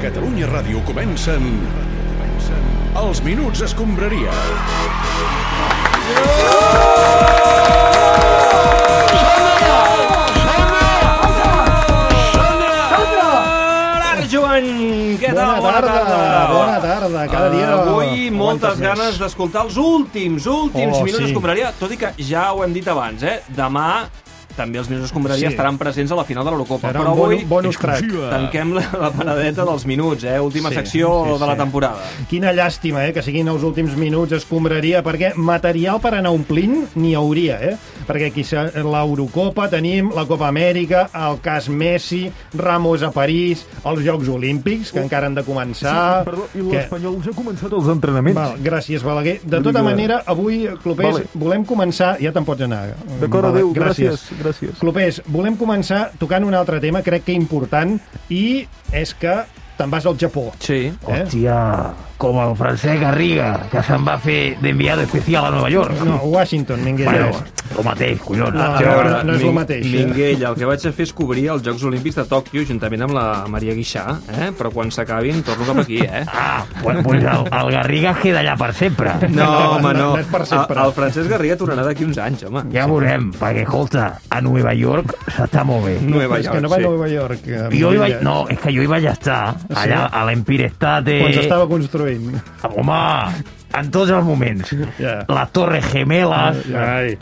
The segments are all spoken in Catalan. Catalunya Ràdio comencen... Els Minuts Escombraria. Hola, Joan! Què tal? Bona tarda, bona tarda, cada dia Avui moltes aguantes més. ganes d'escoltar els últims, últims Oh, minuts sí. d'escombraria, tot i que ja ho hem dit abans, eh? Demà també els minuts d'escombraria Sí. estaran presents a la final de l'Eurocopa. Serà Però un avui bon, bonus track. tanquem la, la paradeta dels minuts, eh? Última Sí, secció sí, de la sí. temporada. Quina llàstima, eh, que siguin els últims minuts escombraria, perquè material per anar omplint n'hi hauria, eh? Perquè aquí s'ha- l'Eurocopa tenim la Copa Amèrica, el cas Messi, Ramos a París, els Jocs Olímpics, que encara han de començar... Perdó, i que- l'Espanyol ja ha començat els entrenaments. Val, gràcies, Balaguer. De Vull tota dir que- manera, avui, Clopés, Vale. volem començar... Ja te'n pots anar. D'acord, Bala- adéu, gràcies, gràcies. Clopés, volem començar tocant un altre tema, crec que important, i és que te'n vas al Japó. Sí. Eh? Hòstia, com el Francesc Garriga, que se'n va fer d'enviado especial a Nova York. No, Washington, Minguella. Bueno, Bueno. el mateix, collons. No, Sí, no, home. no és el mateix, eh? Minguell, el que vaig a fer és cobrir els Jocs Olímpics de Tòquio juntament amb la Maria Guixà, eh? però quan s'acabin torno cap aquí, eh? Ah, bueno, pues el, el Garriga queda allà per sempre. No, home, no. no és per sempre. El, el Francesc Garriga tornarà d'aquí uns anys, home. Ja veurem, perquè, escolta, a Nova York s'està molt bé. Nueva És que York, no va a sí. Nova York. eh, Jo hi vaig... Minguella, No, és que jo hi vaig estar, allà, a l'Empire State... Ah, Quan s'estava construint. Home, en tots els moments. Ja. Les Torres Gemeles, Ai.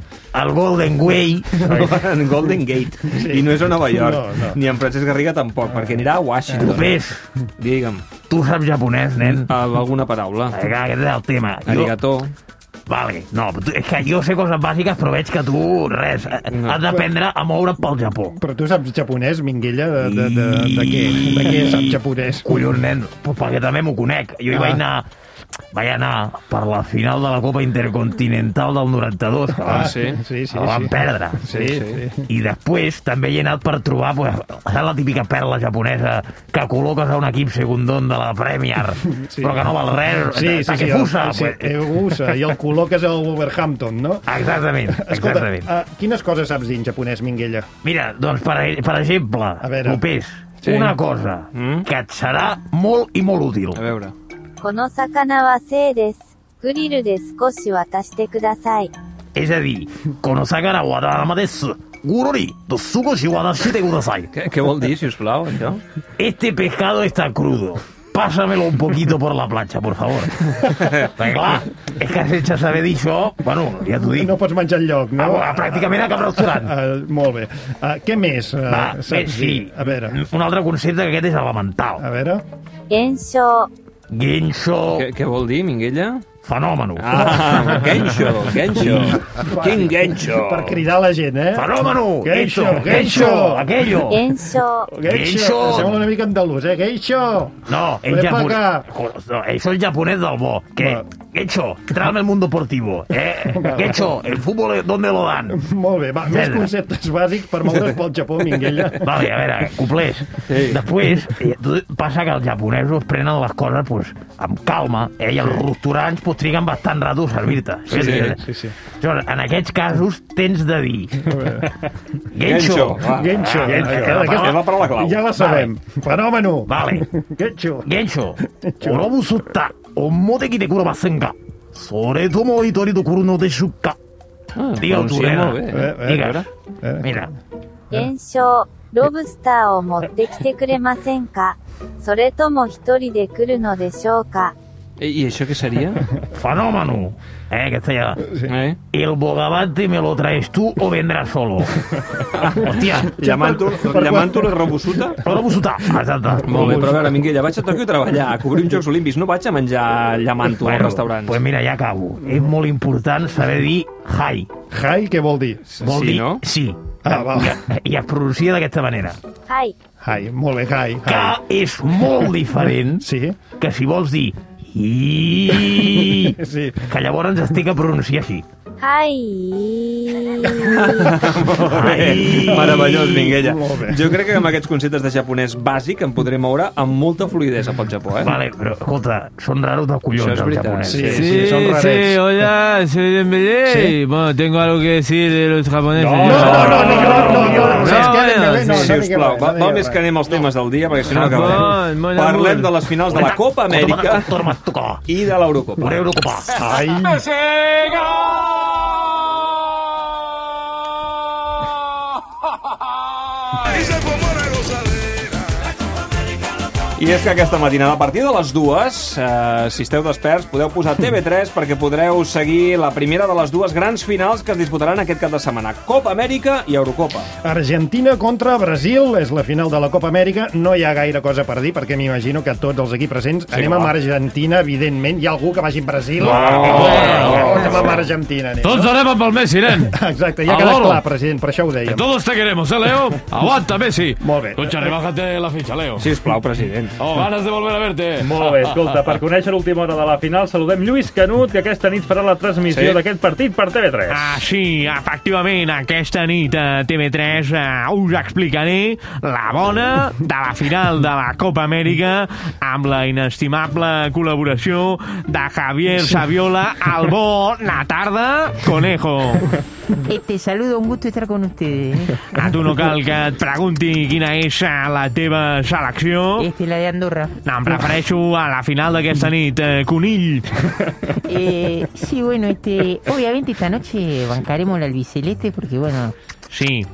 el Golden Way... en Golden Gate. I no és a Nova York. No, no. Ni en Francesc Garriga tampoc, perquè anirà a Washington. Ves, Digue'm, tu saps japonès, nen? eh, alguna paraula. Vinga, Aquest és el tema. Jo, Arigato. Vale, no, tu- és que jo sé coses bàsiques, però veig que tu, res, No. no. has d'aprendre a moure't pel Japó. Però tu saps japonès, Minguella? De, de, de, de, què? De què saps japonès? Collons, nen, pues perquè també m'ho conec. Jo hi Ah. vaig anar, vaig anar per la final de la Copa Intercontinental del 92, que Ah, ah, sí? Sí, sí, la van sí. perdre. Sí, sí. I després també hi he anat per trobar pues, saps la típica perla japonesa que col·loques a un equip segundon de la Premier, Sí. sí. però que no val res. Sí, sí, sí. Takefusa, el, sí, pues. Egusa, i el col·loques al Wolverhampton, no? Exactament, Escolta, exactament. uh, quines coses saps dir en japonès, Minguella? Mira, doncs, per, per exemple, veure. Lopés, sí. Sí. una cosa Mm? mm? que et serà molt i molt útil. A veure. この魚は生です。グリルで少し渡してください。 És a dir, konosakara wadarama desu, gurori, dosugoshi wadashite kudasai. Què, què vol dir, si us plau, això? Este pescado está crudo. Pásamelo un poquito por la planxa, por favor. Perquè, clar, és que sense saber dir això, bueno, ja t'ho dic, No pots menjar enlloc, a, no? a, pràcticament a cap restaurant. Uh, molt bé. Uh, què més uh, Va, bé, saps sí, dir? A veure, un altre concepte que aquest és elemental. a veure... 炎症、 Gensho, Què, què vol dir, Minguella? fenomeno. Ah, Gencho, Gencho. Quin Gencho. Per cridar la gent, eh? Fenòmeno! Geixo, Geixo, geixo. geixo, aquello! 炎症、 Geixo! Geixo. Sembla una mica andalús, eh? Geixo! No, el Ven pa japonés. acá. No, eso es japonés del bo. Que, Va. Geixo, tráeme el mundo deportivo. Eh, Geixo, el fútbol, eh, ¿dónde lo dan? Molt bé, va, més Pedra. conceptes bàsics per moure's pel Japó, Minguella. Vale, a veure, compleix. Sí. Sí. Després, eh, tot- passa que els japonesos prenen les coses pues, amb calma, eh, i els restaurants pues, triguen bastant rato a servir-te. Sí, sí, sí. Llavors, en aquests casos, tens de dir... Gencho. Geixo. va. Gensho. Ah, Gensho. Aquesta- És la paraula clau. Ja la sabem. Fenòmeno. Vale. Geixo. 現象、おろぶすった、おもてきでくれませんかそれとも一人で来るのでしょうか Ah, Digue'l tu, pronuncia nena. molt bé. Eh, eh, Digues. a veure. Mira, 炎症、ロブスターを持ってきてくれませんかそれとも一人で来るのでしょうか I, Eh, I això què seria? ファノーマノ、eh, que seria... Eh? El bogavante me lo traes tú o vendrás solo. Hòstia, Llamant-ho per- llamant la robusuta? però m'ho sotà, exacte. Molt bé, però a veure, Minguella, vaig a Tòquio a treballar, a cobrir uns Jocs Olímpics, no vaig a menjar llamant-ho als restaurants. pues mira, ja acabo. És molt important saber dir hi. Hi, què vol dir? Vol Sí, dir no? sí. Ah, va. I, I es pronuncia d'aquesta manera. はい。 Hi, molt bé, hi. Que hi. és molt diferent Sí, que si vols dir i... sí. que llavors es té que pronunciar així. はい。 Ai, Meravellós, Minguella. Molt bé. Jo crec que amb aquests conceptes de japonès bàsic em podré moure amb molta fluidesa pel Japó, eh? Vale, però, escolta, són raros de collons Això és els veritat. japonesos. Sí, sí, Sí, son rarets. sí, hola, soy Dembélé. Sí. Bueno, tengo algo que decir de los japoneses. No, no, no, no, no, no, no, no, No, és que bueno, Dembélé no, Si no us digueu plau, res, va, no val digueu més res. que anem als temes del dia, perquè si no Japó, acabarem. mon amour. Parlem de les finals de la Copa Amèrica Torna a tocar. Ah, i de l'Eurocopa. Una Eurocopa. Ai, I és que aquesta matinada, a partir de les dues, eh, si esteu desperts, podeu posar TV3 perquè podreu seguir la primera de les dues grans finals que es disputaran aquest cap de setmana. Copa Amèrica i Eurocopa. Argentina contra Brasil és la final de la Copa Amèrica. No hi ha gaire cosa per dir, perquè m'imagino que tots els aquí presents sí, anem clar. amb Argentina, evidentment. Hi ha algú que vagi amb Brasil? No, anem amb Argentina. Anem, Tots no? haremos pel Messi, nen. Exacte, ja ha Al quedat loro. clar, president, per això ho dèiem. Todos te queremos, eh, Leo? Aguanta, Messi. Molt bé. Concha, rebájate la ficha, Leo. Si us plau, president. Oh, ganas de volver a verte. Molt bé, escolta, per conèixer l'última hora de la final, saludem Lluís Canut, que aquesta nit farà la transmissió Sí. sí. d'aquest partit per TV3. Ah, sí, efectivament, aquesta nit a TV3 eh, us explicaré la bona de la final de la Copa Amèrica amb la inestimable col·laboració de Javier Saviola al bo la tarda Conejo. Eh, te saludo, un gusto estar con ustedes. ¿eh? A tu no cal que et pregunti quina és eh, la teva selecció. Este, la de Andorra. No, em refereixo a la final d'aquesta nit, eh, Conill. Eh, sí, bueno, este, obviamente esta noche bancaremos la albiceleste porque, bueno, Sí,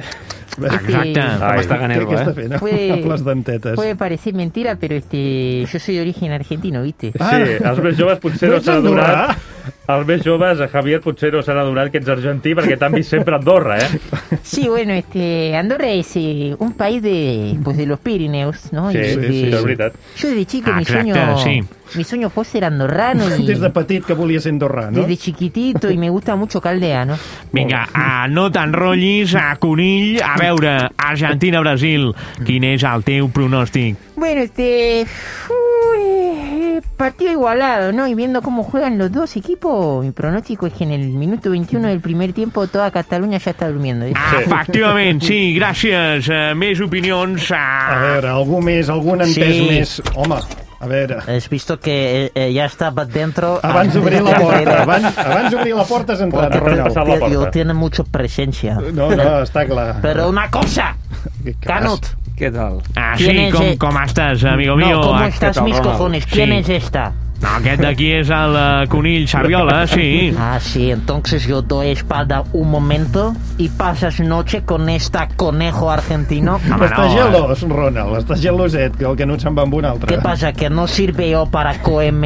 este, exacte. Ai, està ganant, Què està eh? fent, puede, amb les dentetes? puede parecer mentira, pero este, yo soy de origen argentino, ¿viste? Sí, els més joves potser No no ets s'han andorrà? adonat. Els més joves, a Javier, potser no s'han adonat que ets argentí perquè t'han vist sempre a Andorra, eh? Sí, bueno, este, Andorra es eh, un país de, pues, de los Pirineos, ¿no? Sí, Y, sí, este, sí, és veritat. Yo desde chico, Ah, mi sueño, exacto, sí. mi sueño fue ser andorrano y Des de petit que volia ser andorrà, no? desde chiquitito y me gusta mucho Caldeano. Vinga, a no t'enrotllis, a Conill, a veure, Argentina-Brasil, quin és el teu pronòstic? Bueno, este. uy, eh, partido igualado, ¿no? Y viendo cómo juegan los dos equipos, mi pronóstico es que en el minuto 21 del primer tiempo toda Cataluña ya está durmiendo. ¿eh? Ah, efectivament, sí, gràcies. Eh, Més opinions. A Ah. veure, algú més, algun entès Sí. més. Home, a veure... Has visto que eh, eh, ya estaba dentro. Abans antes d'obrir la de que- porta, abans, abans d'obrir la porta has entrat, Porta, Ronald. porta. Pasar la Tío, puerta. tiene mucha presencia. No, no, està clar. Pero una cosa, Que- que- Canut. Què tal? Ah, sí, com, com estàs, amigo mío? No, ¿cómo Ah, estás, tal, mis Ronald? cojones? ¿Quién Sí. es esta? No, aquest d'aquí és el eh, Conill Saviola, sí. Ah, sí, entonces yo doy espada un momento y pasas noche con esta conejo argentino. Home, Està no, eh. gelós, Ronald, està geloset, que el Canut se'n va amb un altre. ¿Qué pasa? ¿Que no sirve yo para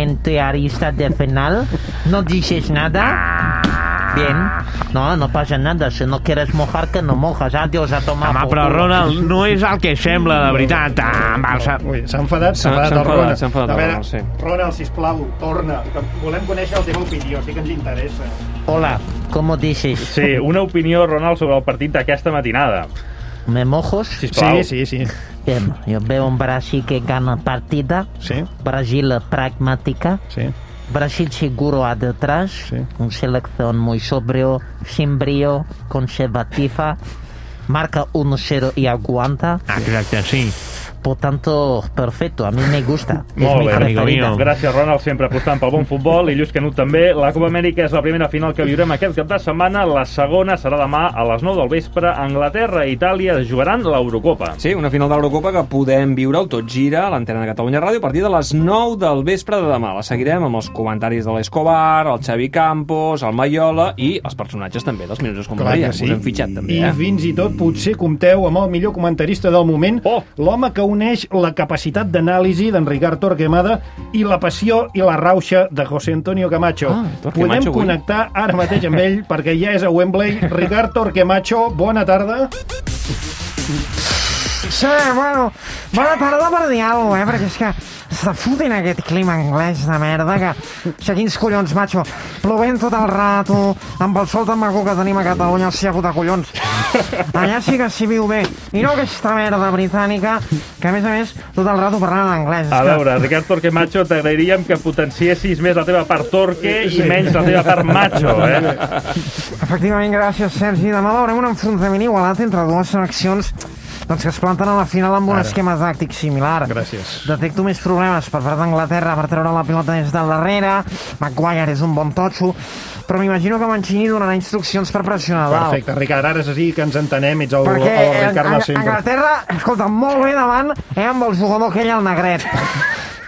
comentarista de final? ¿No dices Ah. nada? Bien. No, no pasa nada. Si no quieres mojar, que no mojas. Adiós, a tomar Oh, Home, por però culo. Ronald, no és el que sembla, de veritat. Ah, amb el... Sa- Ui, s'ha enfadat, s'ha Ah, S'ha- s'ha enfadat el enfadat, Ronald. s'ha enfadat A el veure, Ronald, sí. Ronald, sisplau, torna, que volem conèixer la teva opinió, sí que ens interessa. Hola, ¿cómo dices? Sí, una opinió, Ronald, sobre el partit d'aquesta matinada. ¿Me mojos? Sisplau. Sí, sí, sí. Bien, yo veo un Brasil que gana partida. Sí, Brasil pragmática. sí. Brasil seguro a detrás. Sí. Un selección muy sobrio, sin brío, conservativa. Marca 1-0 y aguanta. Exacte, sí. Por tanto, perfecto, a mí me gusta. es Molt mi bé, amigo preferida. mío. Gràcies, Ronald, sempre apostant pel bon futbol i Lluís Canut també. La Copa Amèrica és la primera final que viurem aquest cap de setmana. La segona serà demà a les 9 del vespre. Anglaterra i Itàlia jugaran l'Eurocopa. Sí, una final d'Eurocopa que podem viure al Tot Gira a l'antena de Catalunya Ràdio a partir de les 9 del vespre de demà. La seguirem amb els comentaris de l'Escobar, el Xavi Campos, el Maiola i els personatges també dels Minuts Escombraria. Us hem fitxat també, I eh? fins i tot potser compteu amb el millor comentarista del moment, Oh! l'home que uneix la capacitat d'anàlisi d'en Ricard Torquemada i la passió i la rauxa de José Antonio Camacho. Ah, Torquemacho Podem avui. connectar ara mateix amb ell perquè ja és a Wembley. Ricard Torquemacho, bona tarda. Sí, bueno, bona tarda per dir alguna cosa, eh? Perquè és que se foten aquest clima anglès de merda que... O sigui, quins collons, macho. Plovent tot el rato, amb el sol tan maco que tenim a Catalunya, hòstia puta collons. Allà sí que s'hi viu bé. I no aquesta merda britànica, que a més a més tot el rato parlant en anglès. És A que- veure, Ricard Torque Macho, t'agrairíem que potenciessis més la teva part torque i Sí. menys la teva part macho, eh? Efectivament, gràcies, Sergi. Demà veurem un enfrontament igualat entre dues seleccions doncs que es planten a la final amb un Ara. esquema tàctic similar. Gràcies. Detecto més problemes per part d'Anglaterra per treure la pilota des del darrere. Maguire és un bon totxo, però m'imagino que Mancini donarà instruccions per pressionar dalt. Perfecte, Ricard, ara és així que ens entenem, ets el, Perquè el eh, Ricard de Ang- sempre. Anglaterra, escolta, molt bé davant eh, amb el jugador aquell, el negret.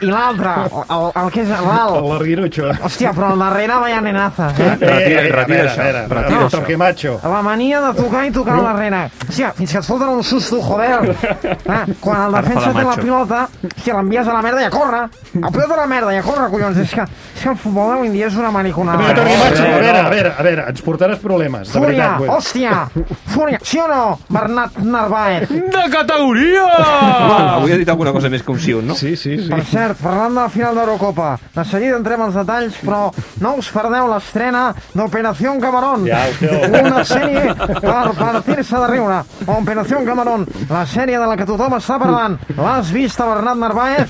I l'altre, el, el, el que és l'alt. L'Arguirutxo. Hòstia, però al darrere veia nenazas, eh? Retira- retira això. Retira això. Torque Macho. La mania de tocar i tocar al darrere. Hòstia, fins que et foten un susto, joder. Ah, quan el Ara fa defensa la té la macho. pilota, hòstia, l'envies a la merda i a córrer. A pilota a la merda i a córrer, collons. És que, és que el futbol avui en dia és una A mariconada. veure, Torque Macho, a veure, a veure, a veure, ens portaràs problemes, de Fúria, veritat. hòstia, fúria. Sí o no, Bernat Narváez? De categoria! Ah, avui he dit alguna cosa més que un sí o un no. Sí, sí, sí. Per cert, parlant de la final d'Eurocopa, de seguida entrem als detalls, però no us perdeu l'estrena d'Operació Camarón. Ja ho sé. Una sèrie per partir-se de riure. Operació Camarón, la sèrie de la que tothom està parlant. L'has vista, Bernat Narváez?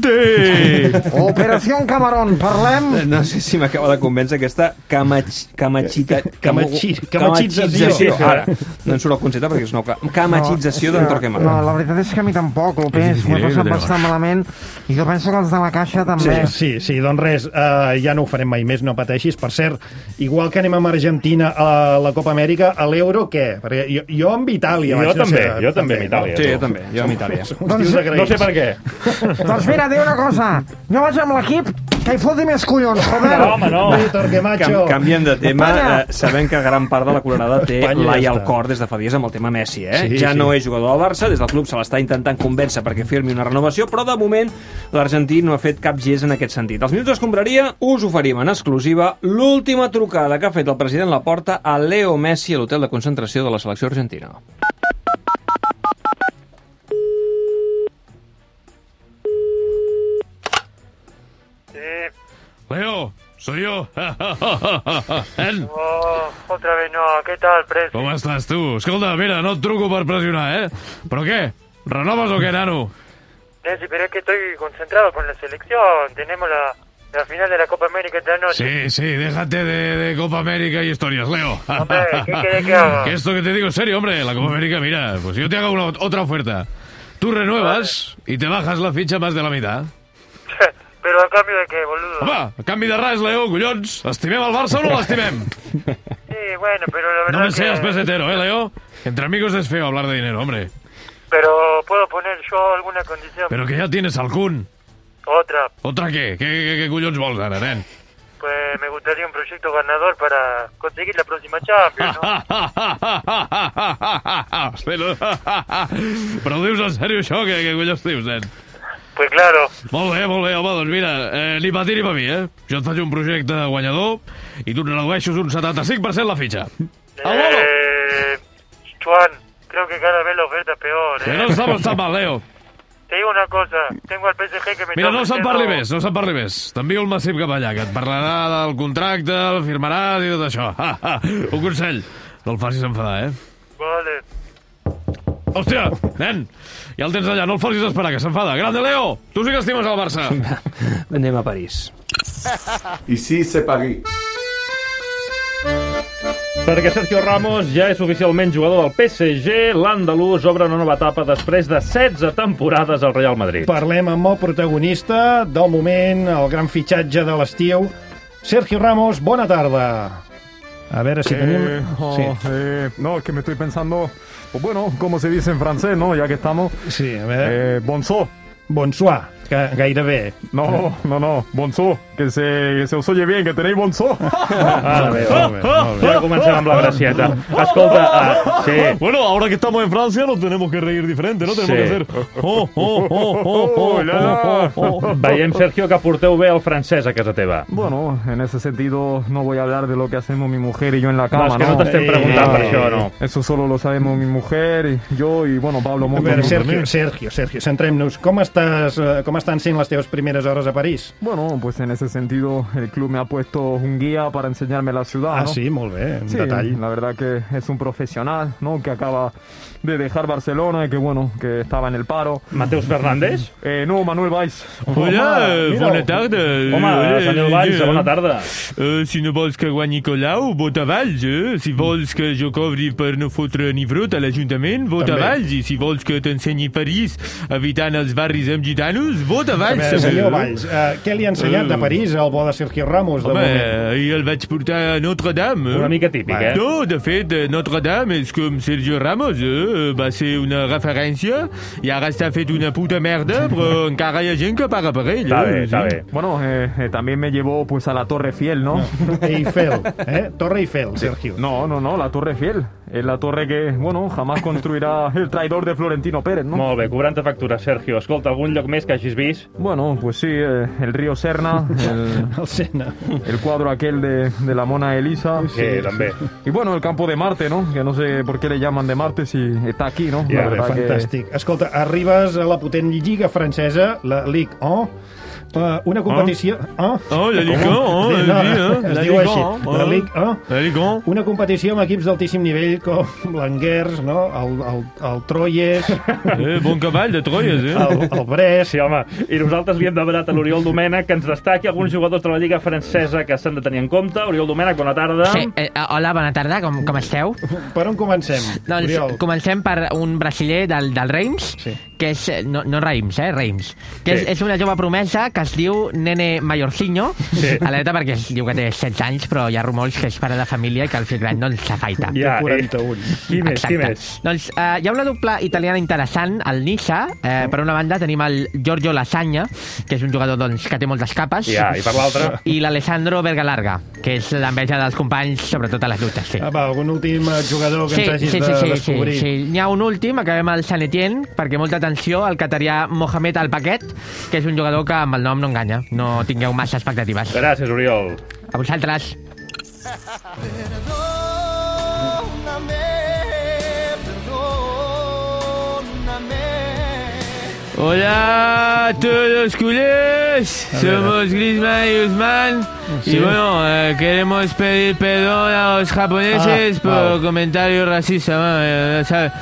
Tronchante! Operació Camarón, parlem... Eh, No sé si m'acaba de convèncer aquesta camach, camachita... Eh, camo- Camachi- camachització. camachització. Ara, no em surt el concepte perquè és una ca- camachització d'en Torquemada. No, la veritat és que a mi tampoc, López, m'ho he difícil, passat llavors. bastant malament i jo penso que els de la caixa també. Sí, sí, sí, doncs res, uh, ja no ho farem mai més, no pateixis. Per cert, igual que anem amb Argentina a la Copa Amèrica, a l'Euro, què? Perquè jo, jo amb Itàlia Jo vaig també, ser, jo també amb Itàlia, Sí, tu. Doncs jo també, jo amb Itàlia. No sé per què. doncs mira, diré una cosa. Jo vaig amb l'equip que hi foti més collons, joder. Cam canviem de tema. Espanya. Eh, sabem que gran part de la colorada té Espanya ja l'ai al està. cor des de fa dies amb el tema Messi. Eh? Sí, ja sí. no és jugador del Barça, des del club se l'està intentant convèncer perquè firmi una renovació, però de moment l'argentí no ha fet cap gest en aquest sentit. Els minuts d'escombraria us oferim en exclusiva l'última trucada que ha fet el president Laporta a Leo Messi a l'hotel de concentració de la selecció argentina. Leo, soy yo. Oh, otra vez no, ¿qué tal, Pres? Com estàs tu? Escolta, mira, no et truco per pressionar, eh? Però què? Renoves o què, nano? Nancy, pero es que estoy concentrado con la selección. Tenemos la, la final de la Copa América esta noche. Sí, sí, déjate de, de Copa América y historias, Leo. Hombre, ¿qué querés que haga? Que esto que te digo es serio, hombre. La Copa América, mira, pues yo te hago una, otra oferta. Tú renuevas y te bajas la ficha más de la mitad. Pero a cambio de qué, boludo. Va, a canvi de res, Leo, collons. Estimem el Barça o no l'estimem? Sí, bueno, pero la No verdad me que... seas pesetero, eh, Leo. Entre amigos es feo hablar de dinero, hombre. Pero puedo poner yo alguna condición. Pero que ya tienes algún. Otra, ¿Otra qué? ¿Qué, qué, qué collons vols ara, nen? pues me gustaría un proyecto ganador para conseguir la próxima Champions, Ah, ¿no? Però, però ho dius en sèrio, això? Què, què collons dius, nen? Pues claro. Molt bé, molt bé, home, doncs mira, eh, ni per ti ni per mi, eh? Jo et faig un projecte de guanyador i tu et redueixes un 75% la fitxa. ah, Eh, Juan, creo que cada vez la oferta es peor, ¿eh? Que no estamos tan mal, Leo. Te digo una cosa, tengo al PSG que me Mira, está no se'n ofreciendo- parli més, no se'n parli més. T'envio el Massip cap allà, que et parlarà del contracte, el firmaràs i tot això. Ha, ha. Un consell, no el facis enfadar, eh? Vale. Hòstia, nen, ja el tens allà, no el facis esperar, que s'enfada. Grande, Leo, tu sí que estimes el Barça. Anem a París. Ici, c'est Paris. Perquè Sergio Ramos ja és oficialment jugador del PSG, l'andalús obre una nova etapa després de 16 temporades al Real Madrid. Parlem amb el protagonista del moment, el gran fitxatge de l'estiu. Sergio Ramos, bona tarda. A ver si Eh, tenim... oh, Sí. eh, no, que me estoy pensando, pues bueno, como se dice en francés, ¿no? Ya que estamos. Sí, a ver. Eh, bonsoir. Bonsoir, que gairebé. Eh. No, no, no, bonsoir, que se, que se os oye bien, que tenéis bonsoir. Molt bé, molt bé, molt bé. Ja comencem amb la gracieta. Escolta, ah, sí. Bueno, ahora que estamos en Francia nos tenemos que reír diferente, ¿no? Tenemos Sí. que hacer... Oh, oh, oh, oh, oh, oh, oh, oh. Veiem, Sergio, que porteu bé el francès a casa teva. Bueno, en ese sentido no voy a hablar de lo que hacemos mi mujer y yo en la cama, Eh, es que no te estén preguntando por eso, no. Eso solo lo sabemos mi mujer, y yo y, bueno, Pablo A Mondo. veure, Sergio, Sergio, Sergio, centrem-nos. Com estàs, eh, com estan sent les teves primeres hores a París? Bueno, pues en ese sentido el club me ha puesto un guía para enseñarme la ciudad. Ah, ¿no? sí, molt bé, en Sí, detall. la verdad que es un profesional, ¿no? Que acaba de dejar Barcelona y que bueno, que estaba en el paro. Mateus Fernández? Eh, no, Manuel Valls. Hola, Mira, bona tarda. Home, Hola, senyor Valls, eh? bona tarda. Eh, si no vols que guanyi Colau, vota Valls. Eh? Si vols que jo cobri per no fotre ni brot a l'Ajuntament, vota També. Valls. I si vols que t'ensenyi París evitant els barris amb gitanos, vota Valls. També, també. senyor Valls, eh, què li ha ensenyat de París el bo de Sergio Ramos, de Home, eh, moment? ahir el vaig portar a Notre-Dame. eh? Una mica típic, eh? No, de fet, eh, Notre-Dame és com Sergio Ramos, eh? va ser una referència i ara està fet una puta merda, però encara hi ha gent que paga per ell. eh? Sí. Bueno, eh, eh, también me llevó pues a la Torre Fiel, ¿no? Eiffel, ¿eh? Torre Eiffel, Sergio. No, no, no, la Torre Fiel. Es la torre que, bueno, jamás construirá el traidor de Florentino Pérez, ¿no? Molt bé, cobrant factures, Sergio. Escolta, algun lloc més que hagis vist? Bueno, pues sí, eh, el río Serna, el, el cuadro aquel de, de la Mona Elisa. Sí, también. Y bueno, el campo de Marte, ¿no? Que no sé por qué le llaman de Marte si está aquí, ¿no? Ja, bé, fantàstic. Escolta, arribes a la potent lliga francesa, la Ligue 1, eh, una competició... Oh, Oh, la Ligue 1, oh, Sí, eh, no, sí, eh, es la diu Ligue així, 1, oh. la Ligue 1. La Ligue 1. Una competició amb equips d'altíssim nivell com l'Anguers, no? el, el, el Troyes... Eh, bon cavall de Troyes, eh? El, el Brest... Sí, home. I nosaltres li hem demanat a l'Oriol Domènech que ens destaqui alguns jugadors de la Lliga Francesa que s'han de tenir en compte. Oriol Domènech, bona tarda. Sí, eh, hola, bona tarda, com, com esteu? Per on comencem, Doncs Oriol? comencem per un brasiler del, del Reims, sí. que és... eh, No, no Reims, eh? Reims. Que Sí. sí. és, és una jove promesa que es diu Nene Mayorcinho, Sí. sí. alerta perquè es diu que té 16 anys, però hi ha rumors que és pare de família i que el fill gran doncs s'afaita. Ja, Té 41. Eh. Qui més, qui Exacte. més? Doncs eh, hi ha una doble italiana interessant, el Nissa. Eh, Mm. per una banda tenim el Giorgio Lasagna, que és un jugador doncs, que té moltes capes. Ja, i per l'altra? I l'Alessandro Bergalarga, que és l'enveja dels companys, sobretot a les lluites. Sí. Ah, va, algun últim eh, jugador que ens hagis de descobrir. Sí, sí. N'hi ha un últim, acabem al Sant Etienne, perquè molta atenció al catarià Mohamed Al Paquet, que és un jugador que amb el nom no enganya. No tingueu massa expectatives. Gràcies, Oriol. A vosaltres. Hola a todos culés, somos Griezmann y Guzmán. Sí. Y bueno, eh, queremos pedir perdón a los japoneses Ah, pues, por vale. comentarios racistas. bueno, eh, no sabe.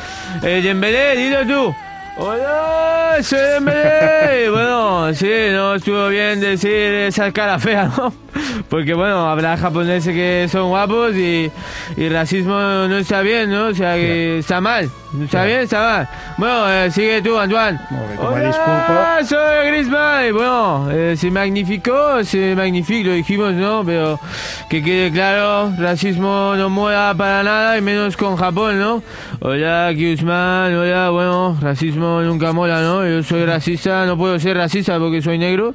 Eh, Dembélé, dilo tú. Hola, soy Dembélé. Y bueno, sí, no estuvo bien decir esa cara fea, ¿no? Porque bueno, habrá japoneses que son guapos y, y racismo no está bien, ¿no? O sea, que está mal. Está bien, está mal. Bueno, eh, sigue tú, Antoine. com a Hola, disculpa. soy Griezmann. Y bueno, eh, se magnificó, se magnificó, lo dijimos, ¿no? Pero que quede claro, racismo no mola para nada y menos con Japón, ¿no? Hola, Griezmann, hola, bueno, racismo nunca mola, ¿no? Yo soy racista, no puedo ser racista porque soy negro.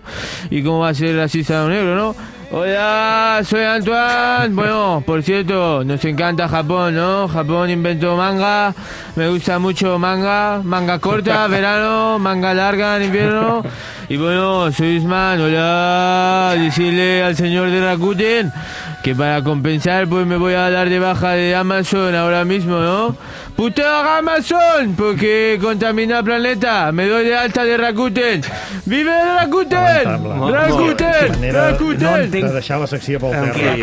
¿Y cómo va a ser racista un negro, no? Hola, soy Antoine. Bueno, por cierto, nos encanta Japón, ¿no? Japón inventó manga. Me gusta mucho manga. Manga corta, verano. Manga larga, en invierno. Y bueno, soy Isman. Hola. Decirle al señor de Rakuten que para compensar, pues me voy a dar de baja de Amazon ahora mismo, ¿no? ¡Puta Amazon! Porque contamina el planeta. Me doy de alta de Rakuten. ¡Vive Rakuten! Rakuten! Rakuten! No entenc... De deixar la secció pel terra. eh?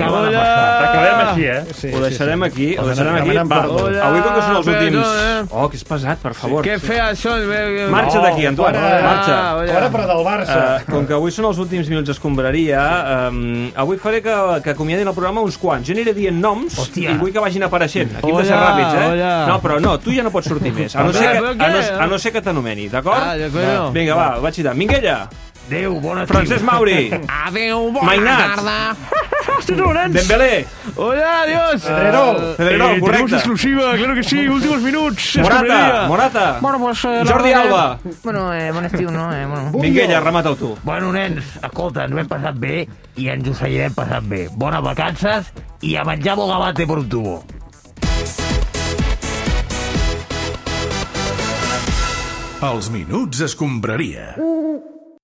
Sí, ho deixarem aquí, ho deixarem aquí. Demanem Va, perdó. avui com que són els perdó, últims... eh? Oh, que és pesat, per favor. Que feas són... eh, eh, Marxa no, d'aquí, Antoine, fora. marxa. Ah, hola. Fora, però del Barça. Eh, com que avui són els últims minuts d'escombraria, um, avui faré que, que acomiadin el programa uns quants. Jo aniré dient noms i vull que vagin apareixent. Aquí hem de ser Hola, ràpids, eh? hola. No, però no, tu ja no pots sortir més. A no Home, ser que, a però no, què? a no ser que t'anomeni, d'acord? Ah, d'acord. Vinga, va, vaig citant. Minguella. Adéu, bona Francesc Mauri. Adéu, bona Mainat. tarda. Dembélé. Hola, adiós. Pedrerol. Pedrerol, Eh, correcte. Tenemos exclusiva, claro que sí, últimos minutos. Morata, Escombraria. Morata. Bueno, pues, eh, la Jordi verdad que- Alba. Bueno, eh, bon estiu, no? Eh, bueno. Minguella, remata-ho tu. Bueno, nens, escolta, ens ho hem passat bé i ens ho seguirem passant bé. Bones vacances i a menjar bogavate per un tubo. Els minuts escombraria.